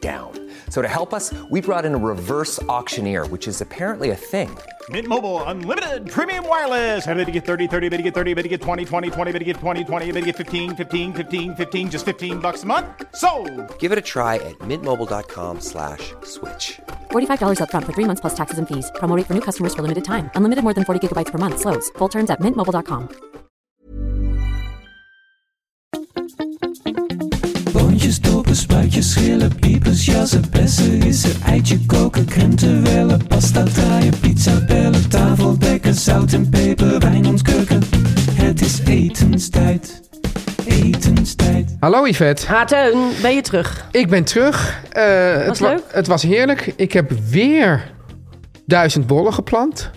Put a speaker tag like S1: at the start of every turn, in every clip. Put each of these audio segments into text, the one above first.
S1: down. So to help us, we brought in a reverse auctioneer, which is apparently a thing.
S2: Mint Mobile unlimited premium wireless. Ready to get 30, 30, bit to get 30, bit to get 20, 20, 20, bit to get 20, 20, bit to get 15, 15, 15, 15 just 15 bucks a month. So,
S1: Give it a try at mintmobile.com slash switch.
S3: $45 upfront for three months plus taxes and fees. Promote for new customers for limited time. Unlimited more than 40 gigabytes per month. Slows. Full terms at mintmobile.com.
S4: Boontjes, dopen, spuitjes, schillen, piepers, jassen, bessen, rissen, eitje koken, krenten wellen, pasta draaien, pizza bellen, tafel dekken, zout en peper, wijn ontkurken. Het is etenstijd, etenstijd.
S5: Hallo Yvette,
S6: Ha, Teun, ben je terug?
S5: ik ben terug. Eh, het,
S6: leuk?
S5: het was heerlijk. Ik heb weer duizend bollen geplant.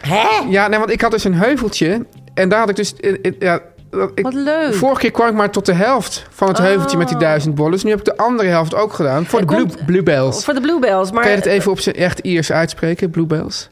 S6: Hè?
S5: Ja, nee, want ik had dus een heuveltje. En daar had ik dus... eh, eh, ja, dat- ik,
S6: Wat leuk.
S5: Vorige keer kwam ik maar tot de helft van het heuveltje met die duizend bollen. Dus nu heb ik de andere helft ook gedaan. Voor
S6: Er
S5: de
S6: komt-
S5: blue, bluebells.
S6: Voor de Bluebells, maar...
S5: Kan je het even op zijn echt Iers uitspreken? Bluebells?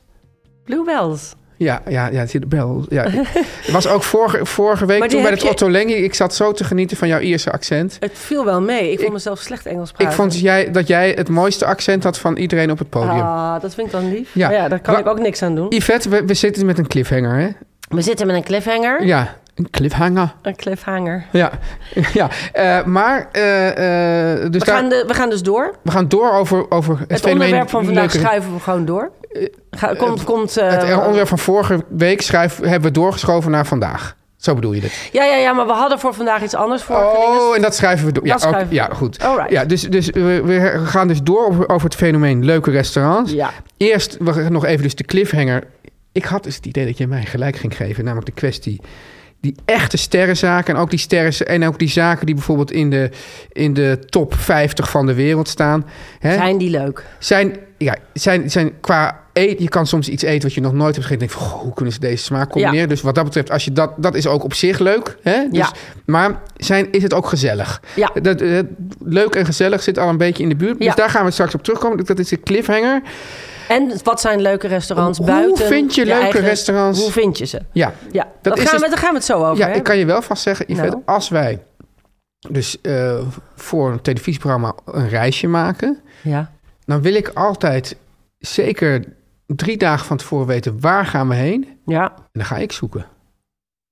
S6: Bluebells.
S5: Ja, ja, ja, het zit de bel. Ja. Het was ook vorige, vorige week
S6: Maar die
S5: toen bij
S6: heb
S5: het
S6: je-
S5: Otto Lengi. Ik zat zo te genieten van jouw Ierse accent.
S6: Het viel wel mee. Ik vond mezelf slecht Engels praten.
S5: Ik vond dat jij, dat jij het mooiste accent had van iedereen op het podium.
S6: Ah, dat vind ik dan lief.
S5: Ja.
S6: Ja, ja daar kan
S5: Wa-
S6: ik ook niks aan doen.
S5: Yvette, we, we zitten met een cliffhanger, hè?
S6: We zitten met een cliffhanger.
S5: Ja, een cliffhanger.
S6: Een cliffhanger.
S5: Ja, ja. Eh, maar... eh, eh, dus
S6: We
S5: daar-
S6: gaan, de, we gaan dus door.
S5: we gaan door over, over het,
S6: Het
S5: fenomeen...
S6: onderwerp van vandaag
S5: leuke-
S6: schuiven we gewoon door. Ga- komt, komt, eh,
S5: Eh, Het onderwerp van vorige week schrijf, hebben we doorgeschoven naar vandaag. Zo bedoel je dit?
S6: ja, ja, ja, maar we hadden voor vandaag iets anders voor.
S5: Oh, en dat schrijven we door. Ja,
S6: Dat
S5: oké,
S6: schrijven we
S5: ja
S6: door.
S5: goed.
S6: Alright.
S5: Ja, dus dus we, we gaan dus door over, over het fenomeen leuke restaurants.
S6: Ja.
S5: Eerst we gaan nog even dus de cliffhanger. Ik had dus het idee dat jij mij gelijk ging geven, namelijk de kwestie die echte sterrenzaken en ook die sterren en ook die zaken die bijvoorbeeld in de, in de top 50 van de wereld staan. Hè?
S6: Zijn die leuk?
S5: Zijn, ja, zijn, zijn qua eten, je kan soms iets eten wat je nog nooit hebt gegeten. En denk van, goh, hoe kunnen ze deze smaak combineren?
S6: Ja.
S5: Dus wat dat betreft, als je dat, dat is ook op zich leuk. Hè? Dus,
S6: Ja.
S5: Maar zijn, is het ook gezellig?
S6: Ja.
S5: Dat, eh, leuk en gezellig zit al een beetje in de buurt. Dus
S6: Ja.
S5: daar gaan we straks op terugkomen. Dat is de cliffhanger.
S6: En wat zijn leuke restaurants
S5: Hoe
S6: buiten?
S5: vind je leuke
S6: eigen-
S5: restaurants?
S6: Hoe vind je ze?
S5: Ja,
S6: Ja, dat
S5: is
S6: gaan
S5: dus-
S6: we, daar gaan we het zo over
S5: ja
S6: hebben.
S5: ik kan je wel vast zeggen, Yvette,
S6: Nou.
S5: als wij dus eh, voor een televisieprogramma een reisje maken...
S6: Ja.
S5: dan wil ik altijd zeker drie dagen van tevoren weten waar gaan we heen...
S6: ja.
S5: En dan ga ik zoeken.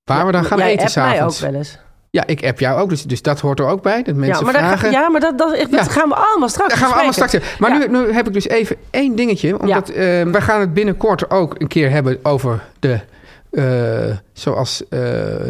S5: Waar we dan gaan
S6: Jij
S5: eten
S6: appt mij ook
S5: s'avonds.
S6: wel eens.
S5: Ja, ik app jou ook, dus, dus dat hoort er ook bij. Dat mensen
S6: Ja, maar, daar
S5: vragen.
S6: ga, ja, maar dat, dat, echt,
S5: Ja.
S6: dat gaan we allemaal straks
S5: Daar gaan we allemaal straks
S6: bespreken.
S5: in. Maar
S6: Ja.
S5: nu, nu heb ik dus even één dingetje. Omdat eh, we gaan het binnenkort ook een keer hebben over de... eh, zoals eh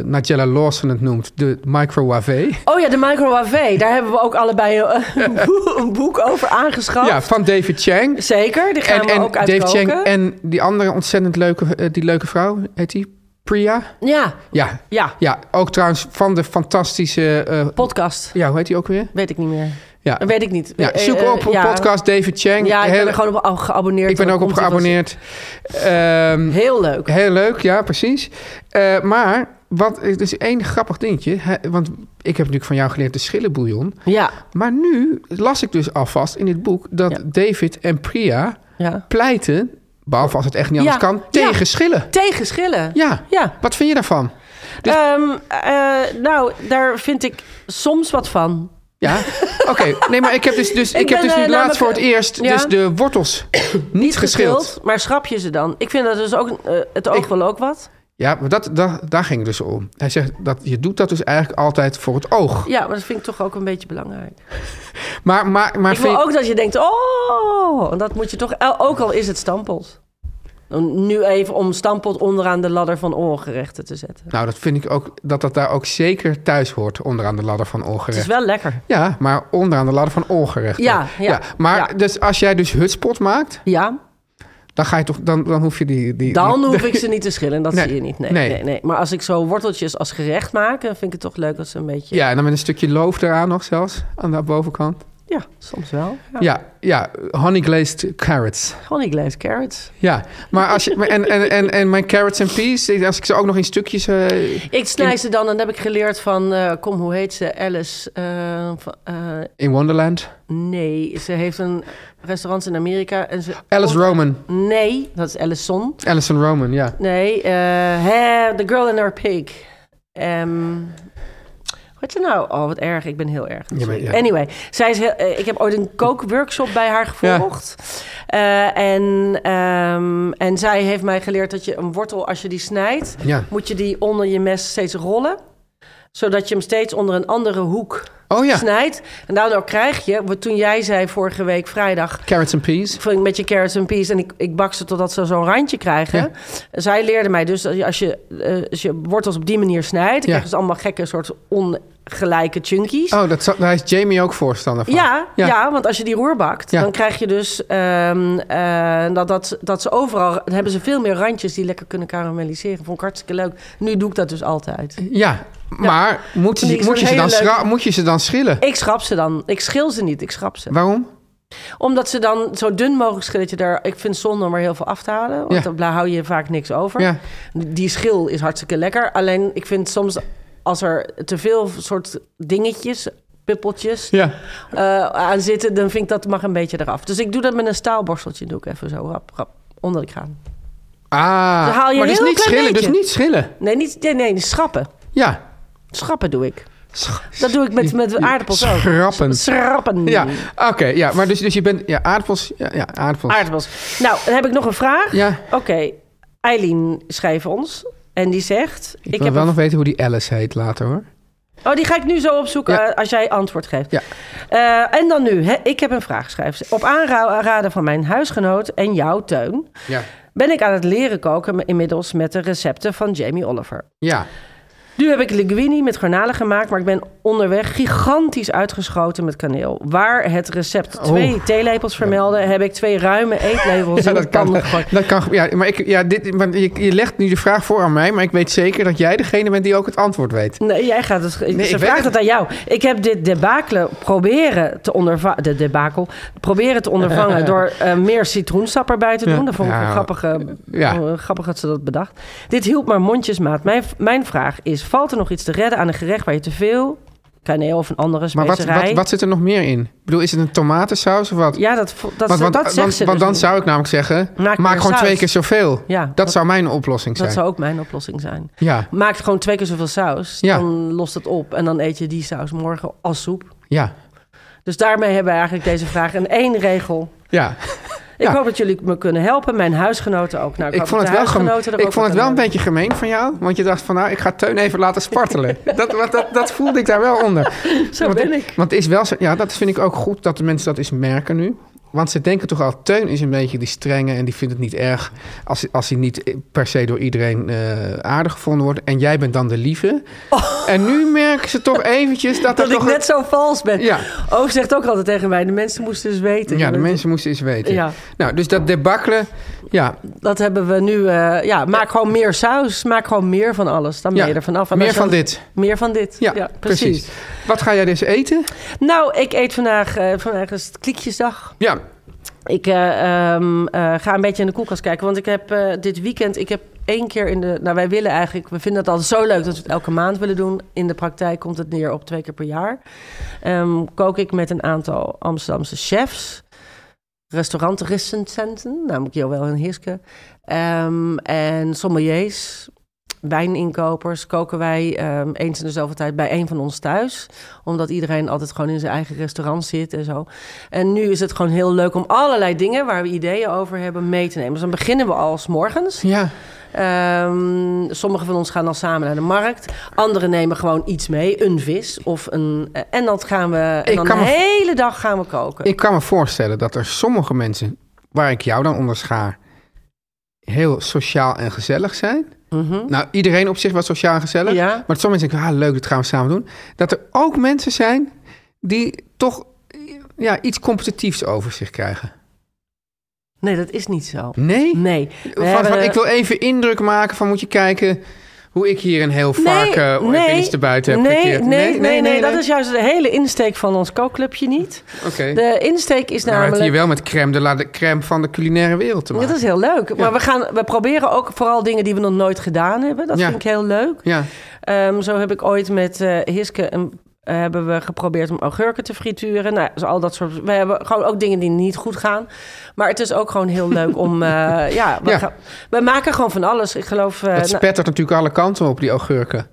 S5: Nigella Lawson het noemt, de microwave.
S6: Oh ja, de microwave. Daar hebben we ook allebei een, een boek- een boek over aangeschaft.
S5: Ja, van David Chang.
S6: Zeker, die Oh. gaan
S5: En,
S6: we
S5: en
S6: ook uit
S5: Dave
S6: koken.
S5: Chang en die andere ontzettend leuke, eh, die leuke vrouw, heet die? Priya?
S6: Ja,
S5: Ja.
S6: ja.
S5: ja, ook trouwens van de fantastische... eh,
S6: Podcast.
S5: ja, hoe heet die ook weer?
S6: Weet ik niet meer.
S5: Ja,
S6: Dat weet ik niet.
S5: Ja,
S6: Eh,
S5: zoek
S6: eh,
S5: op op
S6: ja.
S5: podcast David Chang.
S6: Ja, ik
S5: Heel-
S6: ben er gewoon op al geabonneerd.
S5: ik ben
S6: en
S5: ook
S6: dan
S5: op
S6: komt hij
S5: geabonneerd. Ehm,
S6: vast. Heel leuk.
S5: heel leuk, ja, precies. Eh, maar wat, het is één grappig dingetje. hè, want ik heb natuurlijk van jou geleerd de schillenbouillon.
S6: Ja,
S5: Maar nu las ik dus alvast in dit boek dat
S6: Ja.
S5: David en Priya
S6: ja.
S5: pleiten, behalve als het echt niet
S6: Ja,
S5: anders kan,
S6: ja.
S5: tegen schillen.
S6: Tegen schillen.
S5: Ja.
S6: Ja.
S5: Wat vind je daarvan? Dus-
S6: Ehm, eh, nou, daar vind ik soms wat van.
S5: Ja, oké. Nee, maar ik heb dus, dus, ik
S6: Ik
S5: heb
S6: ben,
S5: dus nu
S6: eh,
S5: laatst
S6: namelijk-
S5: voor het eerst
S6: Ja.
S5: dus de wortels niet geschild.
S6: Maar schrap je ze dan? Ik vind dat dus ook, eh, het oog
S5: Ik-
S6: wel ook wat.
S5: Ja, maar dat, dat, daar ging het dus om. Hij zegt dat je doet dat dus eigenlijk altijd voor het oog.
S6: Ja, maar dat vind ik toch ook een beetje belangrijk.
S5: Maar, maar, maar
S6: ik wil
S5: vind-
S6: ook dat je denkt, oh, en dat moet je toch... el- Ook al is het stampot. Dan Nu even om stampot onderaan de ladder van oorgerechten te zetten.
S5: Nou, dat vind ik ook dat dat daar ook zeker thuis hoort onderaan de ladder van
S6: Het
S5: ongerecht.
S6: is wel lekker.
S5: Ja, maar onderaan de ladder van ongerecht.
S6: Ja, ja,
S5: Maar
S6: ja.
S5: dus als jij dus hutspot maakt,
S6: Ja,
S5: dan ga je toch dan, dan hoef je die, die
S6: dan hoef ik ze niet te schillen. Dat
S5: Nee,
S6: zie je niet. Nee,
S5: nee.
S6: nee. Nee, Maar als ik zo worteltjes als gerecht maak... dan vind ik het toch leuk dat ze een beetje...
S5: Ja, en dan met een stukje loof eraan nog zelfs aan de bovenkant.
S6: Ja, soms wel. Ja.
S5: Ja, ja, honey glazed carrots.
S6: Gewoon ik lees carrots.
S5: Ja, maar als je. maar En, en, en, en mijn carrots and peas, ik- als ik ze ook nog in stukjes. eh,
S6: Ik snij ze dan en dan heb ik geleerd van, eh, kom, hoe heet ze? Alice. eh, van, eh,
S5: in Wonderland.
S6: nee, ze heeft een restaurant in Amerika. En ze,
S5: Alice
S6: oh,
S5: Roman.
S6: Nee, dat is Ellison.
S5: Alison Roman, ja.
S6: Nee, eh, hè, The Girl and Her Pig. Ehm, wat je nou? Oh, wat erg. Ik ben heel erg.
S5: Ja, maar ja.
S6: Anyway, zij is heel- eh, ik heb ooit een kookworkshop bij haar gevolgd. Eh, en, ehm, en zij heeft mij geleerd dat je een wortel, als je die snijdt,
S5: Ja.
S6: moet je die onder je mes steeds rollen. Zodat je hem steeds onder een andere hoek
S5: Oh ja.
S6: snijdt. En daardoor krijg je, wat toen jij zei vorige week vrijdag,
S5: Carrots and peas.
S6: vul ik met je carrots en peas en ik, ik bak ze totdat ze zo'n randje krijgen. Zij leerde mij dus dat je- als je, eh, als je wortels op die manier snijdt, dan
S5: Ja.
S6: krijgen ze allemaal gekke soort ongelijke chunkies.
S5: Oh, dat, zou- daar is Jamie ook voorstander van.
S6: Ja, ja. want als je die roer bakt,
S5: Ja.
S6: dan krijg je dus ehm, eh, dat, dat, dat ze overal... Dan hebben ze veel meer randjes die lekker kunnen karamelliseren. Vond ik hartstikke leuk. Nu doe ik dat dus altijd.
S5: Ja, maar Moet, je,
S6: Die is
S5: moet, je
S6: een
S5: ze
S6: hele
S5: dan
S6: leuke-
S5: schra- moet je ze dan schillen?
S6: Ik schrap ze dan. Ik schil ze niet, ik schrap ze.
S5: Waarom?
S6: Omdat ze dan zo dun mogelijk schillen. dat je daar, ik vind het zonde om er heel veel af te halen. Want
S5: Ja.
S6: dan daar hou je vaak niks over.
S5: Ja.
S6: Die schil is hartstikke lekker. Alleen ik vind soms als er te veel soort dingetjes, pippeltjes
S5: Ja.
S6: eh, aan zitten, dan vind ik dat mag een beetje eraf. Dus ik doe dat met een staalborsteltje. Doe ik even zo rap, rap onder de kraan.
S5: Ah,
S6: Dan haal je
S5: maar dus
S6: een heel
S5: niet
S6: klein
S5: schillen, dus
S6: beetje.
S5: niet schillen.
S6: Nee, niet, nee, nee, schrappen.
S5: Ja.
S6: Schrappen doe ik.
S5: Sch-
S6: Dat doe ik met, met aardappels ook.
S5: Schrappen.
S6: Schrappen.
S5: Ja, oké. ja, maar dus, dus je bent... Ja, aardappels. Ja, ja aardappels.
S6: Aardappels. Nou, dan heb ik nog een vraag.
S5: Ja.
S6: Oké, Eileen schreef ons en die zegt...
S5: Ik, wil wel
S6: een-
S5: nog weten hoe die Alice heet later, hoor.
S6: Oh, die ga ik nu zo opzoeken
S5: Ja.
S6: eh, als jij antwoord geeft.
S5: Ja.
S6: Eh, en dan nu, hè? ik heb een vraag, schrijft ze. Op aanraden van mijn huisgenoot en jou, Teun...
S5: Ja.
S6: ben ik aan het leren koken inmiddels met de recepten van Jamie Oliver.
S5: Ja.
S6: Nu heb ik linguine met garnalen gemaakt, maar ik ben onderweg gigantisch uitgeschoten met kaneel. Waar het
S5: Oh.
S6: recept twee theelepels vermeldde, heb ik twee ruime eetlepels
S5: Ja,
S6: in de
S5: dat
S6: pan
S5: kan.
S6: gegooid.
S5: Dat kan ja, maar ik, ja, dit, maar je, je legt nu de vraag voor aan mij, maar ik weet zeker dat jij degene bent die ook het antwoord weet.
S6: Nee, jij gaat het.
S5: ik
S6: ze
S5: weet
S6: vraagt
S5: het.
S6: het aan jou. Ik heb dit debakel proberen te ondervangen. De debakel. Proberen te ondervangen door eh, meer citroensap erbij te doen.
S5: Ja.
S6: Dat vond ik
S5: Ja.
S6: een grappige.
S5: Ja.
S6: eh, grappig dat ze dat bedacht. Dit hielp maar mondjesmaat. Mijn, mijn vraag is: valt er nog iets te redden aan een gerecht waar je te veel kaneel of een andere
S5: Maar wat,
S6: specerij...
S5: wat, wat zit er nog meer in? Ik bedoel, is het een tomatensaus of wat?
S6: Ja, dat, vo- dat,
S5: want, want,
S6: dat zegt
S5: want-
S6: ze
S5: want
S6: dus
S5: dan
S6: niet.
S5: zou ik namelijk zeggen, maak,
S6: Maak meer
S5: gewoon
S6: saus.
S5: twee keer zoveel.
S6: Ja,
S5: dat,
S6: dat-
S5: zou mijn oplossing
S6: Dat
S5: zijn.
S6: zou ook mijn oplossing zijn.
S5: Ja.
S6: Maak gewoon twee keer zoveel saus.
S5: Ja.
S6: Dan lost het op. En dan eet je die saus morgen als soep.
S5: Ja,
S6: Dus daarmee hebben we eigenlijk deze vraag in één regel.
S5: ja.
S6: Ik
S5: Ja.
S6: hoop dat jullie me kunnen helpen. Mijn huisgenoten ook. Nou,
S5: Ik
S6: hoop
S5: vond
S6: dat
S5: het
S6: de
S5: wel, gem-
S6: huisgenoten er
S5: ik
S6: ook
S5: vond het wel een
S6: kunnen
S5: beetje gemeen van jou. Want je dacht van, nou, ik ga Teun even laten spartelen. dat, want dat, dat voelde ik daar wel onder.
S6: Zo
S5: want,
S6: ben ik.
S5: Want het is wel zo, ja, dat vind ik ook goed dat de mensen dat eens merken nu. Want ze denken toch al, Teun is een beetje die strenge... en die vindt het niet erg als, als hij niet per se door iedereen eh, aardig gevonden wordt. En jij bent dan de lieve. En nu merken ze toch eventjes dat,
S6: Oh. Dat
S5: er
S6: ik
S5: toch...
S6: net zo vals ben.
S5: Ja.
S6: Oof zegt ook altijd tegen mij, de mensen moesten dus weten.
S5: ja, de mensen moesten eens weten.
S6: Ja.
S5: Nou, dus dat debakkelen, ja,
S6: Dat hebben we nu... eh, ja, maak gewoon meer saus. Maak gewoon meer van alles. Dan ben je
S5: Ja,
S6: er vanaf. En
S5: meer
S6: als je
S5: van
S6: dan-
S5: dit.
S6: Meer van dit.
S5: Ja, precies. Wat ga jij dus eten?
S6: Nou, ik eet vandaag... eh, vandaag is het kliekjesdag.
S5: Ja,
S6: Ik eh, ehm, eh, ga een beetje in de koelkast kijken. Want ik heb eh, dit weekend... Ik heb één keer in de... Nou, wij willen eigenlijk... We vinden het altijd zo leuk dat we het elke maand willen doen. In de praktijk komt het neer op twee keer per jaar. Ehm, kook ik met een aantal Amsterdamse chefs. Restaurantrecensenten. Namelijk Joël en Hiske. Ehm, en sommeliers. Wijninkopers koken wij ehm, eens in de zoveel tijd bij één van ons thuis. Omdat iedereen altijd gewoon in zijn eigen restaurant zit en zo. En nu is het gewoon heel leuk om allerlei dingen waar we ideeën over hebben mee te nemen. Dus dan beginnen we al s morgens.
S5: ja.
S6: Ehm, sommigen van ons gaan dan samen naar de markt. Anderen nemen gewoon iets mee, een vis of een. eh, En dan gaan we. En
S5: Ik
S6: dan
S5: kan
S6: de
S5: me-
S6: hele dag gaan we koken.
S5: Ik kan me voorstellen dat er sommige mensen, waar ik jou dan onder schaar, heel sociaal en gezellig zijn. Nou, iedereen op zich wel sociaal en gezellig.
S6: Mhm. Ja.
S5: Maar sommige mensen denken, ah, leuk, dat gaan we samen doen. Dat er ook mensen zijn die toch ja, iets competitiefs over zich krijgen.
S6: Nee, dat is niet zo.
S5: Nee?
S6: Nee. We
S5: Van,
S6: hebben-
S5: van, ik wil even indruk maken van, moet je kijken Hoe ik hier een heel vark eh ooit
S6: nee,
S5: weer iets te buiten heb
S6: nee,
S5: gekeerd.
S6: Nee, nee, nee, dat is juist de hele insteek van ons kookclubje niet.
S5: Oké.
S6: De insteek is
S5: Nou, we hebben het
S6: namelijk...
S5: hier wel met crème de la de crème van de culinaire wereld te maken.
S6: dat is heel leuk. Maar we, gaan, we proberen ook vooral dingen die we nog nooit gedaan hebben. Dat
S5: Ja.
S6: vind ik heel leuk.
S5: Ja,
S6: Ehm, zo heb ik ooit met eh, Hiske een, eh, hebben we geprobeerd om augurken te frituren. Nou, dus al dat soort. We hebben gewoon ook dingen die niet goed gaan. Maar het is ook gewoon heel leuk om. eh, ja, we,
S5: Ja.
S6: gaan- we maken gewoon van alles. Ik geloof. eh,
S5: dat
S6: nou,
S5: spettert natuurlijk alle kanten op, die augurken.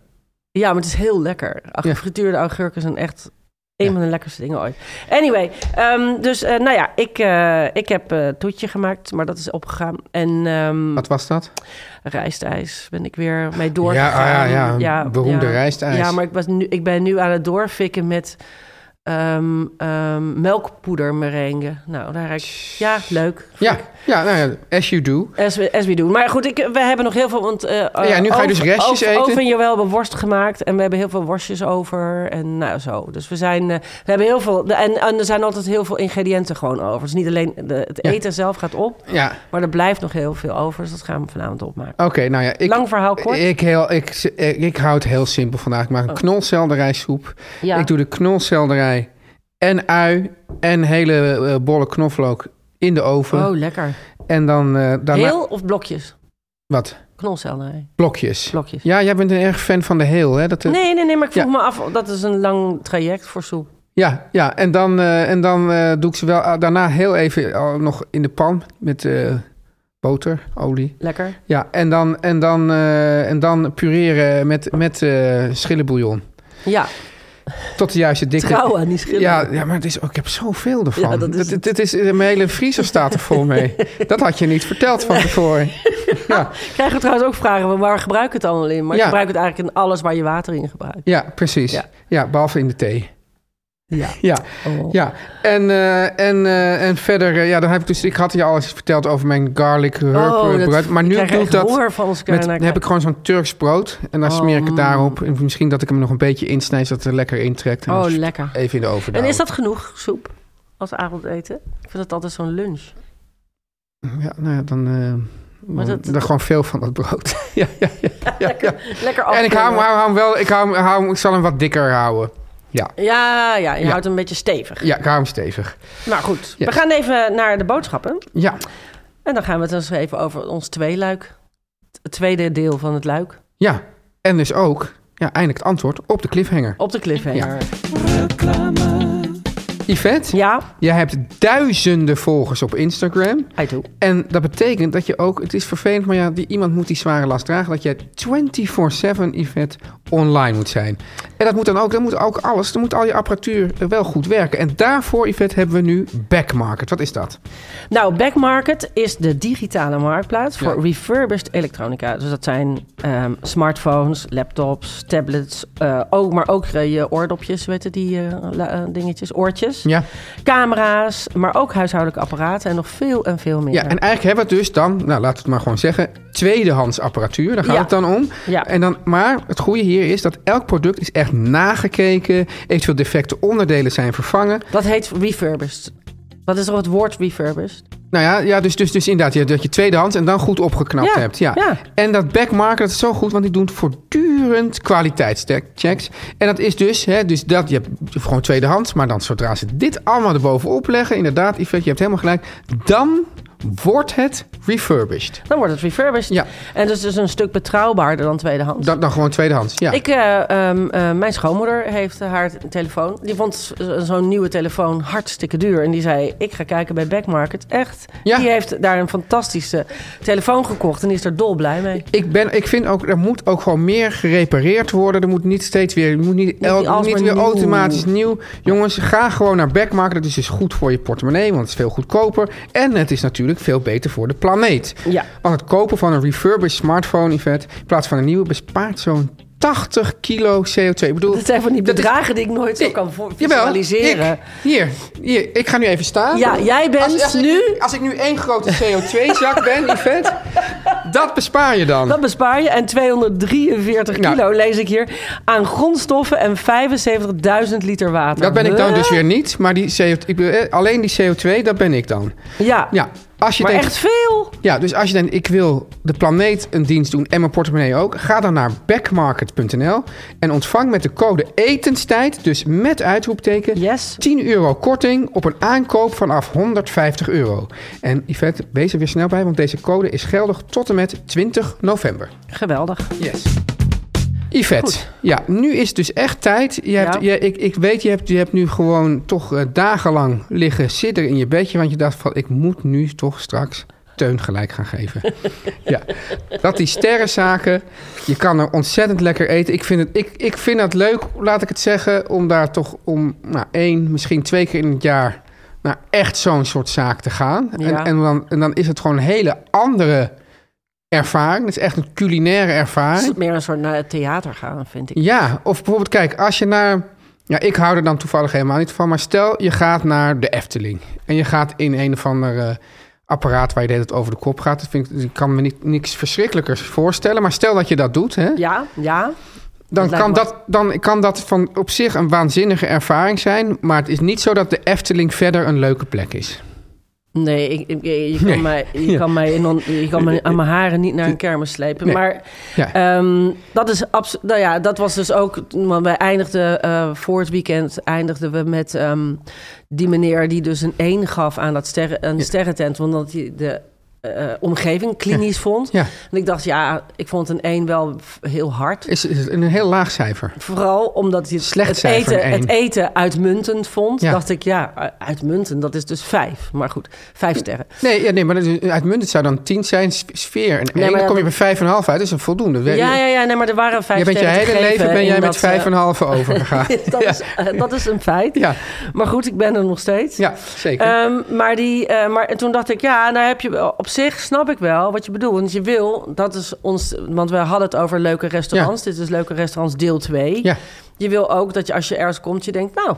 S6: ja, maar het is heel lekker. Ach,
S5: Ja.
S6: Gefrituurde augurken zijn echt. Een van de lekkerste dingen ooit. Anyway, ehm, dus eh, nou ja, ik, eh, ik heb eh toetje gemaakt, maar dat is opgegaan. En ehm,
S5: Wat was dat?
S6: rijstijs ben ik weer mee doorgegaan.
S5: Ja, ah, ja, beroemde rijstijs.
S6: Ja, maar ik, was nu, ik ben nu aan het doorfikken met ehm ehm melkpoeder merengue. Nou, daar heb ik... Ja, leuk.
S5: Ja, ja, nou ja, as you do.
S6: As we, as we doen. Maar goed, ik, we hebben nog heel veel... Want, eh,
S5: Ja, nu ga je dus
S6: over-
S5: restjes
S6: over,
S5: eten.
S6: Over en Joël hebben worst gemaakt. En we hebben heel veel worstjes over. En nou zo. Dus we zijn... eh, we hebben heel veel... En, en er zijn altijd heel veel ingrediënten gewoon over. Dus niet alleen de, het
S5: Ja.
S6: eten zelf gaat op.
S5: Ja,
S6: Maar er blijft nog heel veel over. Dus dat gaan we vanavond opmaken.
S5: oké, nou ja. Ik,
S6: Lang verhaal kort. Oh.
S5: Ik, heel, ik, ik, ik hou het heel simpel vandaag. Ik maak een knolselderijsoep.
S6: Ja.
S5: Ik doe de knolselderij en ui en hele eh, bolle knoflook in de oven.
S6: Oh, lekker.
S5: En dan eh, daarna...
S6: Heel of blokjes?
S5: Wat?
S6: Knolselderij.
S5: Blokjes.
S6: Blokjes.
S5: Ja, jij bent een erg fan van de heel, hè? Dat, eh,
S6: Nee, nee, nee, maar ik vroeg
S5: Ja.
S6: me af, dat is een lang traject voor soep.
S5: Ja, ja. En dan, eh, en dan eh, doe ik ze wel ah, daarna heel even al nog in de pan met eh, boter, olie.
S6: Lekker.
S5: Ja, en dan, en dan, eh, en dan pureren met, met eh, schillenbouillon.
S6: Ja,
S5: Tot de juiste dikte.
S6: trouw aan die schillen.
S5: Ja, ja, maar het is ook, ik heb zoveel ervan.
S6: Ja,
S5: dat
S6: dat
S5: is
S6: is
S5: het, is, mijn hele vriezer staat er vol mee. dat had je niet verteld van tevoren. Ja,
S6: Krijgen we trouwens ook vragen, van waar gebruik ik het allemaal in? Maar
S5: Ja.
S6: je gebruikt het eigenlijk in alles waar je water in gebruikt.
S5: ja precies. Ja.
S6: Ja.
S5: behalve in de thee.
S6: Ja.
S5: Ja,
S6: Oh.
S5: ja. En, eh, en, eh, en verder, eh, ja, dan heb ik dus, ik had je al eens verteld over mijn garlic herb
S6: Oh, dat,
S5: brood. Maar nu
S6: ik krijg
S5: doe ik
S6: echt
S5: dat,
S6: honger van ons
S5: met, dan heb ik gewoon zo'n Turks brood. En dan
S6: Oh,
S5: smeer ik het
S6: mm.
S5: daarop. En misschien dat ik hem nog een beetje insnijd, zodat het er lekker intrekt. En
S6: Oh,
S5: dan
S6: lekker.
S5: even in de oven
S6: En
S5: douwen.
S6: is dat genoeg, soep, als avondeten? Ik vind het altijd zo'n lunch.
S5: Ja, nou ja, dan... eh dan,
S6: dat-
S5: dan gewoon veel van dat brood. ja, ja, ja, ja, ja.
S6: Lekker
S5: En ik hou, hem-
S6: afvullen.
S5: hou, hou hem wel, ik, hou, hem- hou, hem- ik zal hem wat dikker houden. Ja,
S6: Ja, ja, je
S5: Ja.
S6: houdt hem een beetje stevig.
S5: ja ik hou hem stevig.
S6: Nou goed,
S5: Ja.
S6: we gaan even naar de boodschappen.
S5: Ja,
S6: En dan gaan we het eens even over ons tweeluik. Het tweede deel van het luik.
S5: ja. En dus ook, ja, eindelijk het antwoord op de cliffhanger.
S6: Op de cliffhanger.
S5: Yvette,
S6: Ja,
S5: jij hebt duizenden volgers op Instagram.
S6: I do.
S5: En dat betekent dat je ook, het is vervelend, maar ja, die, iemand moet die zware last dragen. Dat jij 24-7 Yvette online moet zijn. En dat moet dan ook, dat moet ook alles, dan moet al je apparatuur eh, wel goed werken. En daarvoor, Yvette, hebben we nu Backmarket. Wat is dat?
S6: Nou, Backmarket is de digitale marktplaats voor
S5: Ja.
S6: refurbished elektronica. Dus dat zijn ehm, smartphones, laptops, tablets, eh, ook, maar ook eh, je oordopjes, weten die eh, la- eh, dingetjes, oortjes,
S5: Ja.
S6: camera's, maar ook huishoudelijke apparaten en nog veel en veel meer.
S5: Ja, en eigenlijk hebben we het dus dan, nou laten we het maar gewoon zeggen, tweedehands apparatuur. Daar gaat
S6: Ja.
S5: het dan om.
S6: Ja.
S5: En dan, maar het goede hier is dat elk product is echt nagekeken. Eventueel defecte onderdelen zijn vervangen.
S6: Dat heet refurbished. Wat is toch het woord refurbished?
S5: Nou ja, ja dus, dus, dus inderdaad, ja, dat je tweedehands en dan goed opgeknapt
S6: Ja,
S5: hebt. Ja.
S6: ja.
S5: En dat backmarket dat is zo goed, want die doen voortdurend kwaliteitschecks. En dat is dus, hè, dus dat, je hebt gewoon tweedehands, maar dan zodra ze dit allemaal erbovenop leggen, inderdaad, Yvette, je hebt helemaal gelijk, dan wordt het refurbished.
S6: Dan wordt het refurbished.
S5: Ja.
S6: En dus, dus een stuk betrouwbaarder dan tweedehands.
S5: Dan, dan gewoon tweedehands, ja.
S6: Ik, eh, ehm, eh, mijn schoonmoeder heeft eh, haar t- telefoon. Die vond z- zo'n nieuwe telefoon hartstikke duur. En die zei, ik ga kijken bij Backmarket. Echt.
S5: Ja.
S6: Die heeft daar een fantastische telefoon gekocht. En die is er dolblij mee.
S5: Ik, ben, ik vind ook, er moet ook gewoon meer gerepareerd worden. Er moet niet steeds weer, er moet niet, el-
S6: niet alles
S5: niet
S6: maar
S5: weer
S6: nieuw.
S5: automatisch nieuw. Jongens, ga gewoon naar Backmarket. Dat is dus goed voor je portemonnee, want het is veel goedkoper. En het is natuurlijk veel beter voor de planeet.
S6: Ja.
S5: Want het kopen van een refurbished smartphone, Yvette, in plaats van een nieuwe, bespaart zo'n 80 kilo CO2. Ik bedoel,
S6: Dat zijn van die
S5: dat is-
S6: bedragen die ik nooit zo kan voor-
S5: Jawel,
S6: visualiseren.
S5: ik- hier, hier, ik ga nu even staan.
S6: Ja, jij bent
S5: als, als Ik,
S6: nu-
S5: nu- als ik nu één grote CO2-zak ben, Yvette, dat bespaar je dan.
S6: Dat bespaar je. En 243
S5: Nou.
S6: kilo, lees ik hier, aan grondstoffen en 75.000 liter water.
S5: Dat ben ik dan
S6: Huh?
S5: dus weer niet. Maar die CO2, ik bedoel, eh, alleen die CO2, dat ben ik dan.
S6: Ja.
S5: Ja, Als je
S6: Maar
S5: denkt,
S6: echt veel.
S5: Ja, dus als je denkt, ik wil de planeet een dienst doen en mijn portemonnee ook, ga dan naar backmarket.nl en ontvang met de code etenstijd, dus met uitroepteken,
S6: Yes.
S5: 10 euro korting op een aankoop vanaf 150 euro. En Yvette, wees er weer snel bij, want deze code is geldig tot en met 20 november.
S6: Geweldig.
S5: Yes. Yvette,
S6: Goed.
S5: ja, nu is het dus echt tijd. Je hebt,
S6: Ja.
S5: je- ik, ik weet, je hebt, je hebt nu gewoon toch eh, dagenlang liggen sidderen in je bedje. Want je dacht van, ik moet nu toch straks Teun gelijk gaan geven. ja, dat die sterrenzaken, je kan er ontzettend lekker eten. Ik vind het, ik, ik vind het leuk, laat ik het zeggen, om daar toch om nou, één, misschien twee keer in het jaar naar echt zo'n soort zaak te gaan. En,
S6: Ja.
S5: en, dan, en dan is het gewoon een hele andere ervaring. Het is echt een culinaire
S6: Het is
S5: ervaring.
S6: meer een soort naar het theater gaan, vind ik.
S5: Ja, of bijvoorbeeld, kijk, als je naar. Ja, ik hou er dan toevallig helemaal niet van. Maar stel, je gaat naar de Efteling. En je gaat in een of ander eh, apparaat waar je de hele tijd over de kop gaat. Dat vind ik, ik kan me niet, niks verschrikkelijkers voorstellen. Maar stel dat je dat doet, hè,
S6: Ja, ja.
S5: dan,
S6: lijkt
S5: kan
S6: me-
S5: dat, dan kan dat van op zich een waanzinnige ervaring zijn. Maar het is niet zo dat de Efteling verder een leuke plek is.
S6: Nee, ik, ik- je kan
S5: Nee.
S6: mij, je kan mij, in on- je kan mij aan mijn haren niet naar een kermis slepen.
S5: Nee.
S6: Maar
S5: Ja.
S6: ehm, dat is absoluut. Nou ja, dat was dus ook. Want wij eindigden eh, voor het weekend eindigden we met ehm, die meneer die dus een 1 gaf aan dat sterren, een sterrentent, omdat hij de eh, omgeving klinisch vond.
S5: Ja.
S6: En ik dacht, ja, ik vond een 1 wel f- heel hard.
S5: Is, is een heel laag cijfer.
S6: Vooral omdat hij het,
S5: Slecht
S6: het,
S5: cijfer,
S6: eten,
S5: een één.
S6: het eten uitmuntend vond.
S5: Ja.
S6: Dacht ik, ja, uitmuntend, dat is dus vijf. Maar goed, vijf sterren.
S5: Nee, ja, nee maar dat is- uitmuntend zou dan 10 zijn, s- sfeer. En één,
S6: maar
S5: dan
S6: ja,
S5: kom je
S6: dat-
S5: bij 5,5 uit. Dat is een voldoende. We-
S6: Ja, ja, ja, nee, maar er waren vijf
S5: Je bent je
S6: sterren te
S5: hele
S6: geven
S5: leven ben jij
S6: in
S5: met
S6: dat, eh,
S5: 5,5 overgegaan.
S6: dat, is, eh, dat is een feit.
S5: Ja.
S6: Maar goed, ik ben er nog steeds.
S5: Ja, zeker.
S6: Ehm, maar, die, eh, maar en toen dacht ik, ja, nou heb je wel- op zich snap ik wel wat je bedoelt. Want je wil, dat is ons, want we hadden het over leuke restaurants. Dit is leuke restaurants deel 2.
S5: ja.
S6: Je wil ook dat je als je ergens komt, je denkt, nou,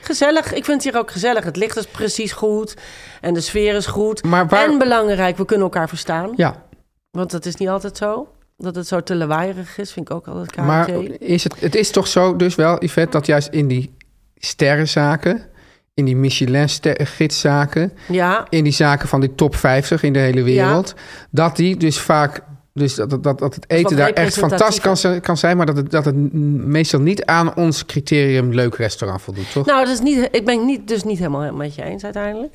S6: gezellig. Ik vind het hier ook gezellig. Het licht is precies goed en de sfeer is goed.
S5: Maar waar-
S6: En belangrijk, we kunnen elkaar verstaan.
S5: ja.
S6: Want dat is niet altijd zo. Dat het zo te lawaaierig is, vind ik ook altijd KRT.
S5: Maar is het, het is toch zo dus wel, Yvette, dat juist in die sterrenzaken, in die Michelin-gidszaken,
S6: ja,
S5: in die zaken van die top 50 in de hele wereld, dat die dus vaak... Dus dat, dat, dat het eten
S6: wat
S5: daar echt fantastisch kan,
S6: representatiever.
S5: zijn- kan zijn, maar dat het, dat het n- meestal niet aan ons criterium leuk restaurant voldoet, toch?
S6: Nou, dat is niet, ik ben niet, dus niet helemaal met je eens uiteindelijk.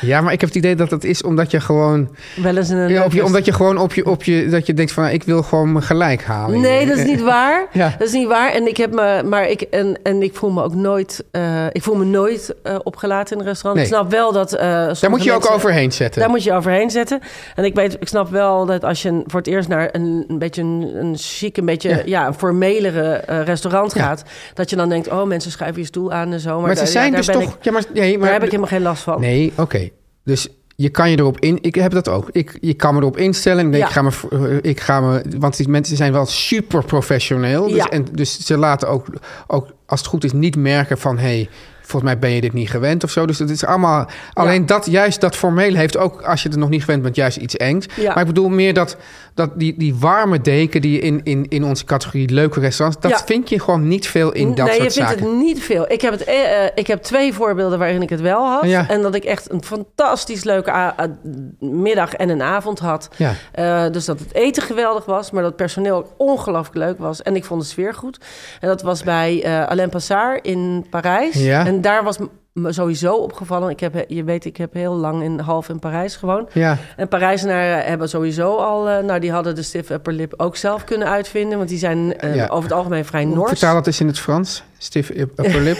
S5: ja, maar ik heb het idee dat dat is omdat je gewoon,
S6: Wel eens in een.
S5: ja, op je,
S6: leuk
S5: omdat je gewoon op je, op je, dat je denkt van, nou, ik wil gewoon mijn gelijk halen.
S6: Nee, dat is niet waar.
S5: Oh Ja.
S6: Dat is niet waar. En ik heb me, maar ik en, en ik voel me ook nooit, eh, ik voel me nooit eh, opgelaten in een restaurant.
S5: Nee.
S6: Ik snap wel dat. eh,
S5: Daar
S6: sommige
S5: moet je ook
S6: mensen-
S5: overheen zetten.
S6: Daar moet je overheen zetten. En ik weet, ik snap wel dat als je voor het eerst naar een, een beetje een, een chic, een beetje
S5: Ja.
S6: ja. een formelere eh, restaurant
S5: Ja.
S6: gaat, dat je dan denkt, oh, mensen schuiven je stoel aan en zo. Maar,
S5: Maar ze
S6: daar,
S5: zijn
S6: ja, daar
S5: dus
S6: ben
S5: toch...
S6: Ik,
S5: ja, maar, nee, maar,
S6: daar heb ik helemaal geen last van.
S5: Nee, oké. Dus je kan je erop in... Ik heb dat ook. Ik, je kan me erop instellen. Ik, denk,
S6: Ja.
S5: ik, ga me, v- eh, ik ga me... Want die mensen zijn wel super professioneel. Dus,
S6: Ja.
S5: en, dus ze laten ook, ook, als het goed is, niet merken van... Hey, Volgens mij ben je dit niet gewend of zo. Dus het is allemaal. Alleen dat, juist dat formeel heeft ook, als je het nog niet gewend bent, juist iets engs.
S6: Ja.
S5: Maar ik bedoel meer dat, dat die, die warme deken die je in, in, in onze categorie leuke restaurants. dat
S6: Ja.
S5: vind je gewoon niet veel in dat
S6: nee,
S5: soort
S6: je vindt
S5: zaken.
S6: het niet veel. Ik heb, het, eh, eh, ik heb twee voorbeelden waarin ik het wel had.
S5: Ja.
S6: En dat ik echt een fantastisch leuke a- a- middag en een avond had.
S5: Ja.
S6: Eh, dus dat het eten geweldig was, maar dat het personeel ook ongelooflijk leuk was. En ik vond de sfeer goed. En dat was bij eh Alain Passard in Parijs.
S5: Ja.
S6: En daar was me sowieso opgevallen. Ik heb, je weet, ik heb heel lang in half in Parijs gewoond.
S5: Ja.
S6: En Parijzenaren hebben sowieso al... eh, nou, die hadden de stiff upper lip ook zelf kunnen uitvinden. Want die zijn eh,
S5: Ja.
S6: over het algemeen vrij Noors.
S5: Oh, Vertaal dat eens in het Frans. Stiff upper lip.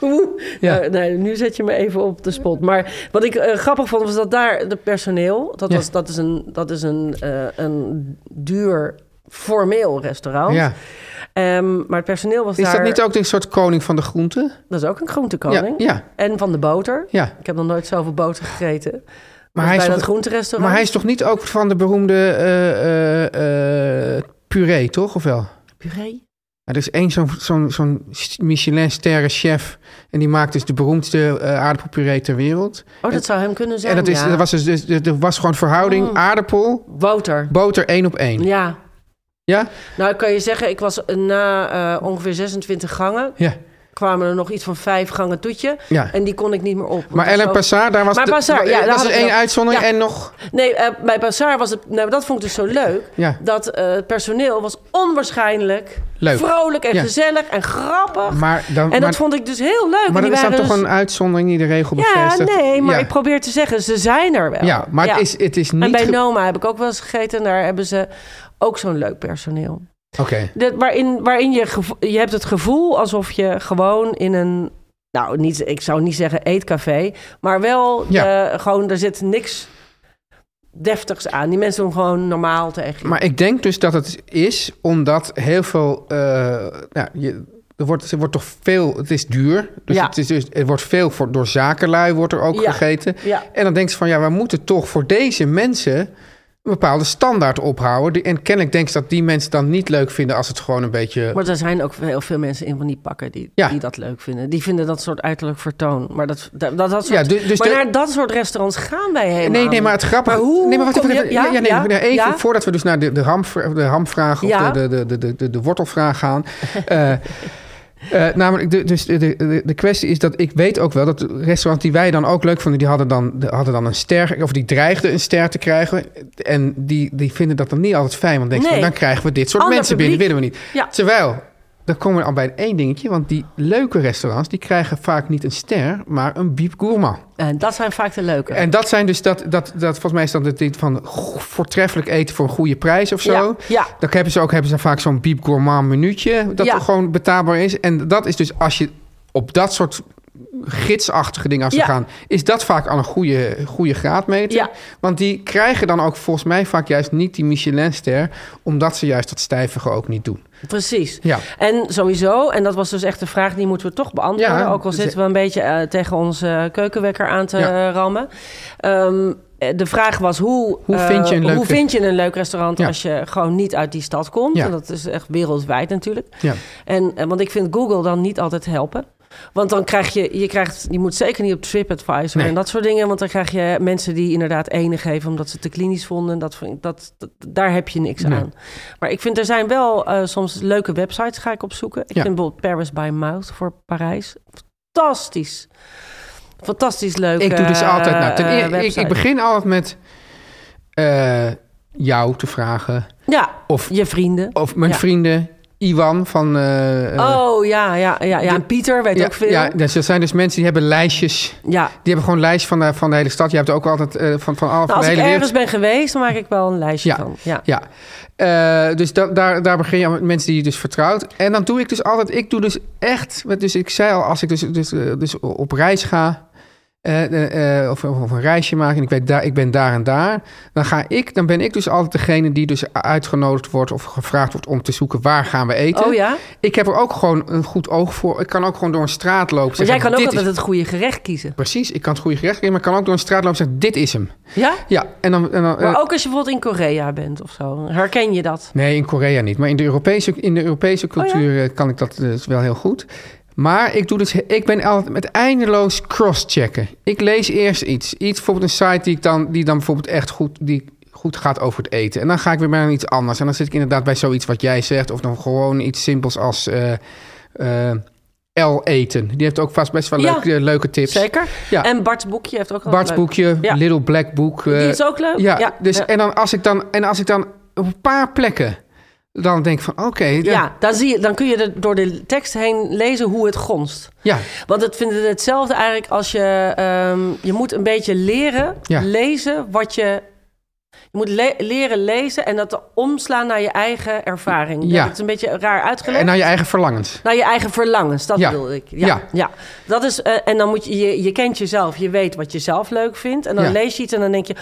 S6: Oeh,
S5: Ja.
S6: nou, nee, nu zet je me even op de spot. Maar wat ik eh, grappig vond, was dat daar de personeel... Dat,
S5: Ja.
S6: was, dat is, een, dat is een, eh, een duur formeel restaurant.
S5: Ja.
S6: Ehm, maar het personeel was
S5: Is
S6: daar...
S5: dat niet ook een soort koning van de groenten?
S6: Dat is ook een groentekoning.
S5: Ja, ja.
S6: En van de boter.
S5: Ja.
S6: Ik heb nog nooit zoveel boter gegeten. Maar
S5: hij
S6: hij
S5: is
S6: bij
S5: toch-
S6: dat groenterestaurant.
S5: Maar hij is toch niet ook van de beroemde eh, eh, eh, puree, toch? Of wel?
S6: Puree?
S5: Ja, er is één zo'n zo'n zo'n Michelin-sterren chef. En die maakt dus de beroemdste eh, aardappelpuree ter wereld.
S6: Oh, dat zou hem kunnen zijn,
S5: en dat is,
S6: ja.
S5: er, was dus, dus- er was gewoon verhouding aardappel,
S6: Boter.
S5: boter één op één. Ja?
S6: Ja.
S5: Ja.
S6: Nou, ik kan je zeggen, ik was na eh, ongeveer 26 gangen... kwamen er nog iets van vijf gangen toetje.
S5: Ja.
S6: En die kon ik niet meer op.
S5: Maar
S6: Want
S5: Ellen
S6: zo-
S5: Passard, daar was
S6: Maar
S5: de-
S6: Passard, ja, daar
S5: dat
S6: had
S5: is
S6: ik
S5: één
S6: nog-
S5: uitzondering
S6: ja.
S5: en nog...
S6: Nee, eh, bij Bazaar was het... Nou, dat vond ik dus zo leuk.
S5: Ja.
S6: Dat eh, het personeel was onwaarschijnlijk
S5: Leuk.
S6: vrolijk en
S5: Ja.
S6: gezellig en grappig.
S5: Maar dan,
S6: en dat
S5: maar,
S6: vond ik dus heel leuk.
S5: maar
S6: En
S5: dat
S6: die
S5: is dan
S6: waren
S5: toch
S6: dus-
S5: een uitzondering die de regel
S6: Ja,
S5: bevestigt?
S6: nee, maar
S5: Ja.
S6: ik probeer te zeggen, ze zijn er wel.
S5: Ja, maar het is- het is niet
S6: En bij
S5: ge-
S6: Noma heb ik ook wel eens gegeten. en Daar hebben ze ook zo'n leuk personeel.
S5: Oké,
S6: Dat, waarin waarin je, gevo- je hebt het gevoel alsof je gewoon in een... Nou, niet, ik zou niet zeggen eetcafé. Maar wel,
S5: Ja.
S6: eh, gewoon, er zit niks deftigs aan. Die mensen doen gewoon normaal tegen je.
S5: maar ik denk dus dat het is omdat heel veel... eh, nou, je, er wordt, er wordt toch veel... Het is duur, dus,
S6: Ja.
S5: het, is, dus er wordt veel voor, door zakenlui wordt er ook
S6: Ja.
S5: gegeten.
S6: Ja.
S5: En dan denkt ze van, ja, we moeten toch voor deze mensen... een bepaalde standaard ophouden. Die- En kennelijk denkt ze dat die mensen dan niet leuk vinden... als het gewoon een beetje...
S6: Maar er zijn ook heel veel mensen in van die pakken die,
S5: Ja.
S6: die dat leuk vinden. Die vinden dat soort uiterlijk vertoon. Maar, dat, dat, dat, dat soort,
S5: Ja, dus- dus
S6: maar
S5: de-
S6: naar dat soort restaurants gaan wij helemaal
S5: Nee, nee, maar het
S6: niet.
S5: grappige...
S6: Maar hoe
S5: nee, maar wacht
S6: kom
S5: even.
S6: je-
S5: even- ja,
S6: ja,
S5: ja, nee,
S6: ja,
S5: nee, even
S6: ja.
S5: voordat we dus naar de, de, ham, de hamvraag of
S6: Ja.
S5: de, de, de, de, de, de wortelvraag gaan. Eh, eh, namelijk, de, dus de, de, de- de kwestie is dat ik weet ook wel dat de restaurants die wij dan ook leuk vonden, die hadden dan, de- hadden dan een ster, of die dreigden een ster te krijgen. En die, die vinden dat dan niet altijd fijn, want denken ze,
S6: Nee.
S5: dan krijgen we dit soort
S6: Ander
S5: mensen
S6: publiek.
S5: binnen, willen we niet.
S6: Ja.
S5: Terwijl, dan komen we al bij één dingetje, want die leuke restaurants, die krijgen vaak niet een ster, maar een biep gourmand.
S6: En dat zijn vaak de leuke.
S5: En dat zijn dus dat, dat, dat volgens mij is dat het ding van go- voortreffelijk eten voor een goede prijs of zo.
S6: Ja, ja.
S5: Dan hebben ze ook hebben ze vaak zo'n biep gourmand minuutje dat
S6: Ja.
S5: er gewoon betaalbaar is. En dat is dus als je op dat soort gidsachtige dingen als ze
S6: Ja.
S5: gaan, is dat vaak al een goede, goede graadmeter.
S6: Ja.
S5: Want die krijgen dan ook volgens mij vaak juist niet die Michelinster, omdat ze juist dat stijvige ook niet doen.
S6: Precies.
S5: Ja.
S6: En sowieso, en dat was dus echt de vraag, die moeten we toch beantwoorden.
S5: Ja,
S6: ook al
S5: ze-
S6: zitten we een beetje eh, tegen onze keukenwekker aan te
S5: Ja.
S6: eh, rammen. Ehm, eh, de vraag was hoe,
S5: Hoe
S6: eh,
S5: vind je een leuk
S6: hoe vind je een leuk restaurant
S5: Ja.
S6: als je gewoon niet uit die stad komt?
S5: Ja.
S6: En dat is echt wereldwijd natuurlijk.
S5: Ja.
S6: En, eh, want ik vind Google dan niet altijd helpen. Want dan krijg je, je krijgt, je moet zeker niet op TripAdvisor
S5: Nee.
S6: en dat soort dingen. Want dan krijg je mensen die inderdaad enig geven omdat ze het te klinisch vonden. Dat, vind ik- dat, dat- daar heb je niks aan. Maar ik vind, er zijn wel eh, soms leuke websites ga ik opzoeken. Ik
S5: Ja.
S6: vind bijvoorbeeld Paris by Mouth voor Parijs. Fantastisch. Fantastisch leuk.
S5: Ik doe dus
S6: eh,
S5: altijd, nou, ten
S6: eh,
S5: eer- ik,
S6: website.
S5: ik begin altijd met eh, jou te vragen
S6: Ja,
S5: of
S6: je vrienden.
S5: Of mijn
S6: Ja.
S5: vrienden Iwan van... eh, eh,
S6: oh, ja, ja, ja. ja.
S5: de-
S6: En Pieter weet
S5: ja,
S6: ook veel.
S5: Ja,
S6: Ja,
S5: dus dat zijn dus mensen die hebben lijstjes. Die hebben gewoon lijst van de, van de hele stad. Je hebt ook altijd eh, van, van, al, van
S6: Nou, als
S5: de
S6: ik
S5: hele
S6: ergens
S5: wereld.
S6: ben geweest, dan maak ik wel een lijstje
S5: Ja.
S6: van. Ja.
S5: Ja, Eh, dus da- daar, daar begin je met mensen die je dus vertrouwt. En dan doe ik dus altijd, ik doe dus echt, met- dus ik zei al, als ik dus, dus, eh, dus op reis ga, eh, eh, eh, of, of een reisje maak en ik, weet daar, ik ben daar en daar, dan, ga ik, dan ben ik dus altijd degene die dus uitgenodigd wordt of gevraagd wordt om te zoeken waar gaan we eten.
S6: Oh ja?
S5: Ik heb er ook gewoon een goed oog voor. Ik kan ook gewoon door een straat lopen.
S6: Maar jij
S5: zeggen,
S6: kan ook
S5: dit
S6: altijd
S5: is-
S6: het goede gerecht kiezen.
S5: Precies, ik kan het goede gerecht geven, maar ik kan ook door een straat lopen en zeggen, dit is hem.
S6: Ja?
S5: Ja, en dan... En dan eh,
S6: Maar ook als je bijvoorbeeld in Korea bent of zo. Herken je dat?
S5: Nee, in Korea niet. Maar in de Europese, in de Europese
S6: Oh
S5: cultuur eh, kan ik dat dus wel heel goed. Maar ik, doe dus, ik ben altijd met eindeloos crosschecken. Ik lees eerst iets. Iets, bijvoorbeeld een site die, ik dan, die dan bijvoorbeeld echt goed, die goed gaat over het eten. En dan ga ik weer naar iets anders. En dan zit ik inderdaad bij zoiets wat jij zegt. Of dan gewoon iets simpels als eh, eh, L eten. Die heeft ook vast best wel
S6: Ja.
S5: leuke, leuke tips.
S6: Zeker.
S5: Ja.
S6: En Bart's boekje heeft ook wel
S5: Bart's
S6: leuk.
S5: boekje,
S6: Ja.
S5: Little Black Book.
S6: Die
S5: eh,
S6: is ook leuk.
S5: ja,
S6: Oh, Ja.
S5: dus
S6: Ja.
S5: En, dan als ik dan, en als ik dan op een paar plekken dan denk ik van oké, dan-
S6: Ja, dan, zie je, dan kun je er door de tekst heen lezen hoe het gonst.
S5: ja,
S6: Want het vindt het hetzelfde eigenlijk als je... ehm, je moet een beetje leren
S5: Ja.
S6: lezen wat je... Je moet le- leren lezen en dat omslaan naar je eigen ervaring.
S5: Ja.
S6: Dat is een beetje raar uitgelegd.
S5: en naar je eigen verlangens.
S6: Naar je eigen verlangens, dat
S5: Ja.
S6: bedoel ik. Ja,
S5: Ja.
S6: ja. Dat is, eh, en dan moet je, je, je kent jezelf, je weet wat je zelf leuk vindt. En dan
S5: Ja.
S6: lees je iets en dan denk je,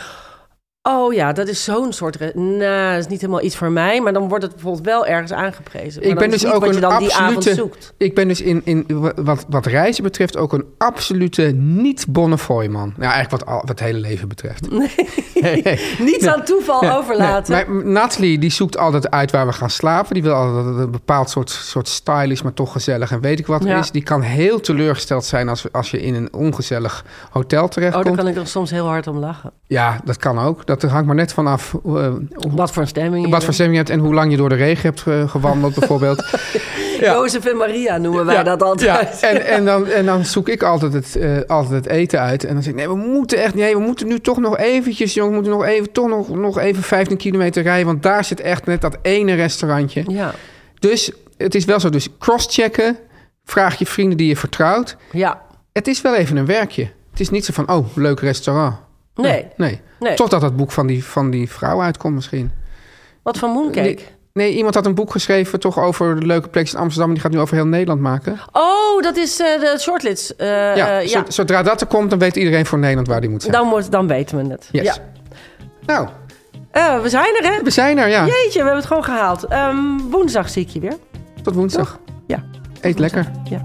S6: oh ja, dat is zo'n soort, re- nou, dat is niet helemaal iets voor mij. Maar dan wordt het bijvoorbeeld wel ergens aangeprezen. Maar
S5: Ik
S6: dan
S5: ben
S6: is
S5: dus
S6: niet
S5: ook
S6: wat je
S5: een
S6: dan die avond
S5: absolute.
S6: zoekt.
S5: Ik ben dus in, in wa- wat, wat reizen betreft ook een absolute niet-Bonnefoy-man. Nou, eigenlijk wat, al- wat het hele leven betreft.
S6: Niets aan toeval overlaten.
S5: Nee, maar Natalie die zoekt altijd uit waar we gaan slapen. Die wil altijd dat het een bepaald soort, soort style is, maar toch gezellig en weet ik wat er
S6: Ja.
S5: is. Die kan heel teleurgesteld zijn als, als je in een ongezellig hotel
S6: Oh,
S5: terechtkomt.
S6: daar kan ik er soms heel hard om lachen.
S5: Ja, dat kan ook. Dat hangt maar net vanaf eh,
S6: Wat voor een stemming. je
S5: wat voor
S6: bent.
S5: stemming je hebt en hoe lang je door de regen hebt eh, gewandeld bijvoorbeeld. Ja.
S6: Jozef en Maria noemen wij
S5: Ja,
S6: dat altijd.
S5: Ja. En, en, dan, en dan zoek ik altijd het, eh, altijd het eten uit. En dan zeg ik, nee, we moeten echt, nee, we moeten nu toch nog eventjes, jongens, we moeten nog even, toch nog, nog even 15 kilometer rijden. Want daar zit echt net dat ene restaurantje.
S6: Ja.
S5: Dus het is wel zo, dus crosschecken, vraag je vrienden die je vertrouwt.
S6: ja.
S5: Het is wel even een werkje. Het is niet zo van, oh, leuk restaurant.
S6: Nee.
S5: Nee.
S6: Nee.
S5: Totdat dat boek van die, van die vrouw uitkomt misschien.
S6: Wat van Mooncake?
S5: Nee, nee, iemand had een boek geschreven toch over de leuke plekjes in Amsterdam. en Die gaat nu over heel Nederland maken.
S6: Oh, dat is eh, de shortlist. Eh,
S5: ja,
S6: eh,
S5: zo-
S6: ja.
S5: Zodra dat er komt, dan weet iedereen voor Nederland waar die moet zijn.
S6: Dan, wordt, dan weten we het.
S5: Yes.
S6: Ja.
S5: Nou,
S6: Eh, we zijn er, hè?
S5: we zijn er, ja.
S6: Jeetje, we hebben het gewoon gehaald. Ehm, woensdag zie ik je weer.
S5: Tot woensdag.
S6: Ja.
S5: Eet lekker.
S6: ja.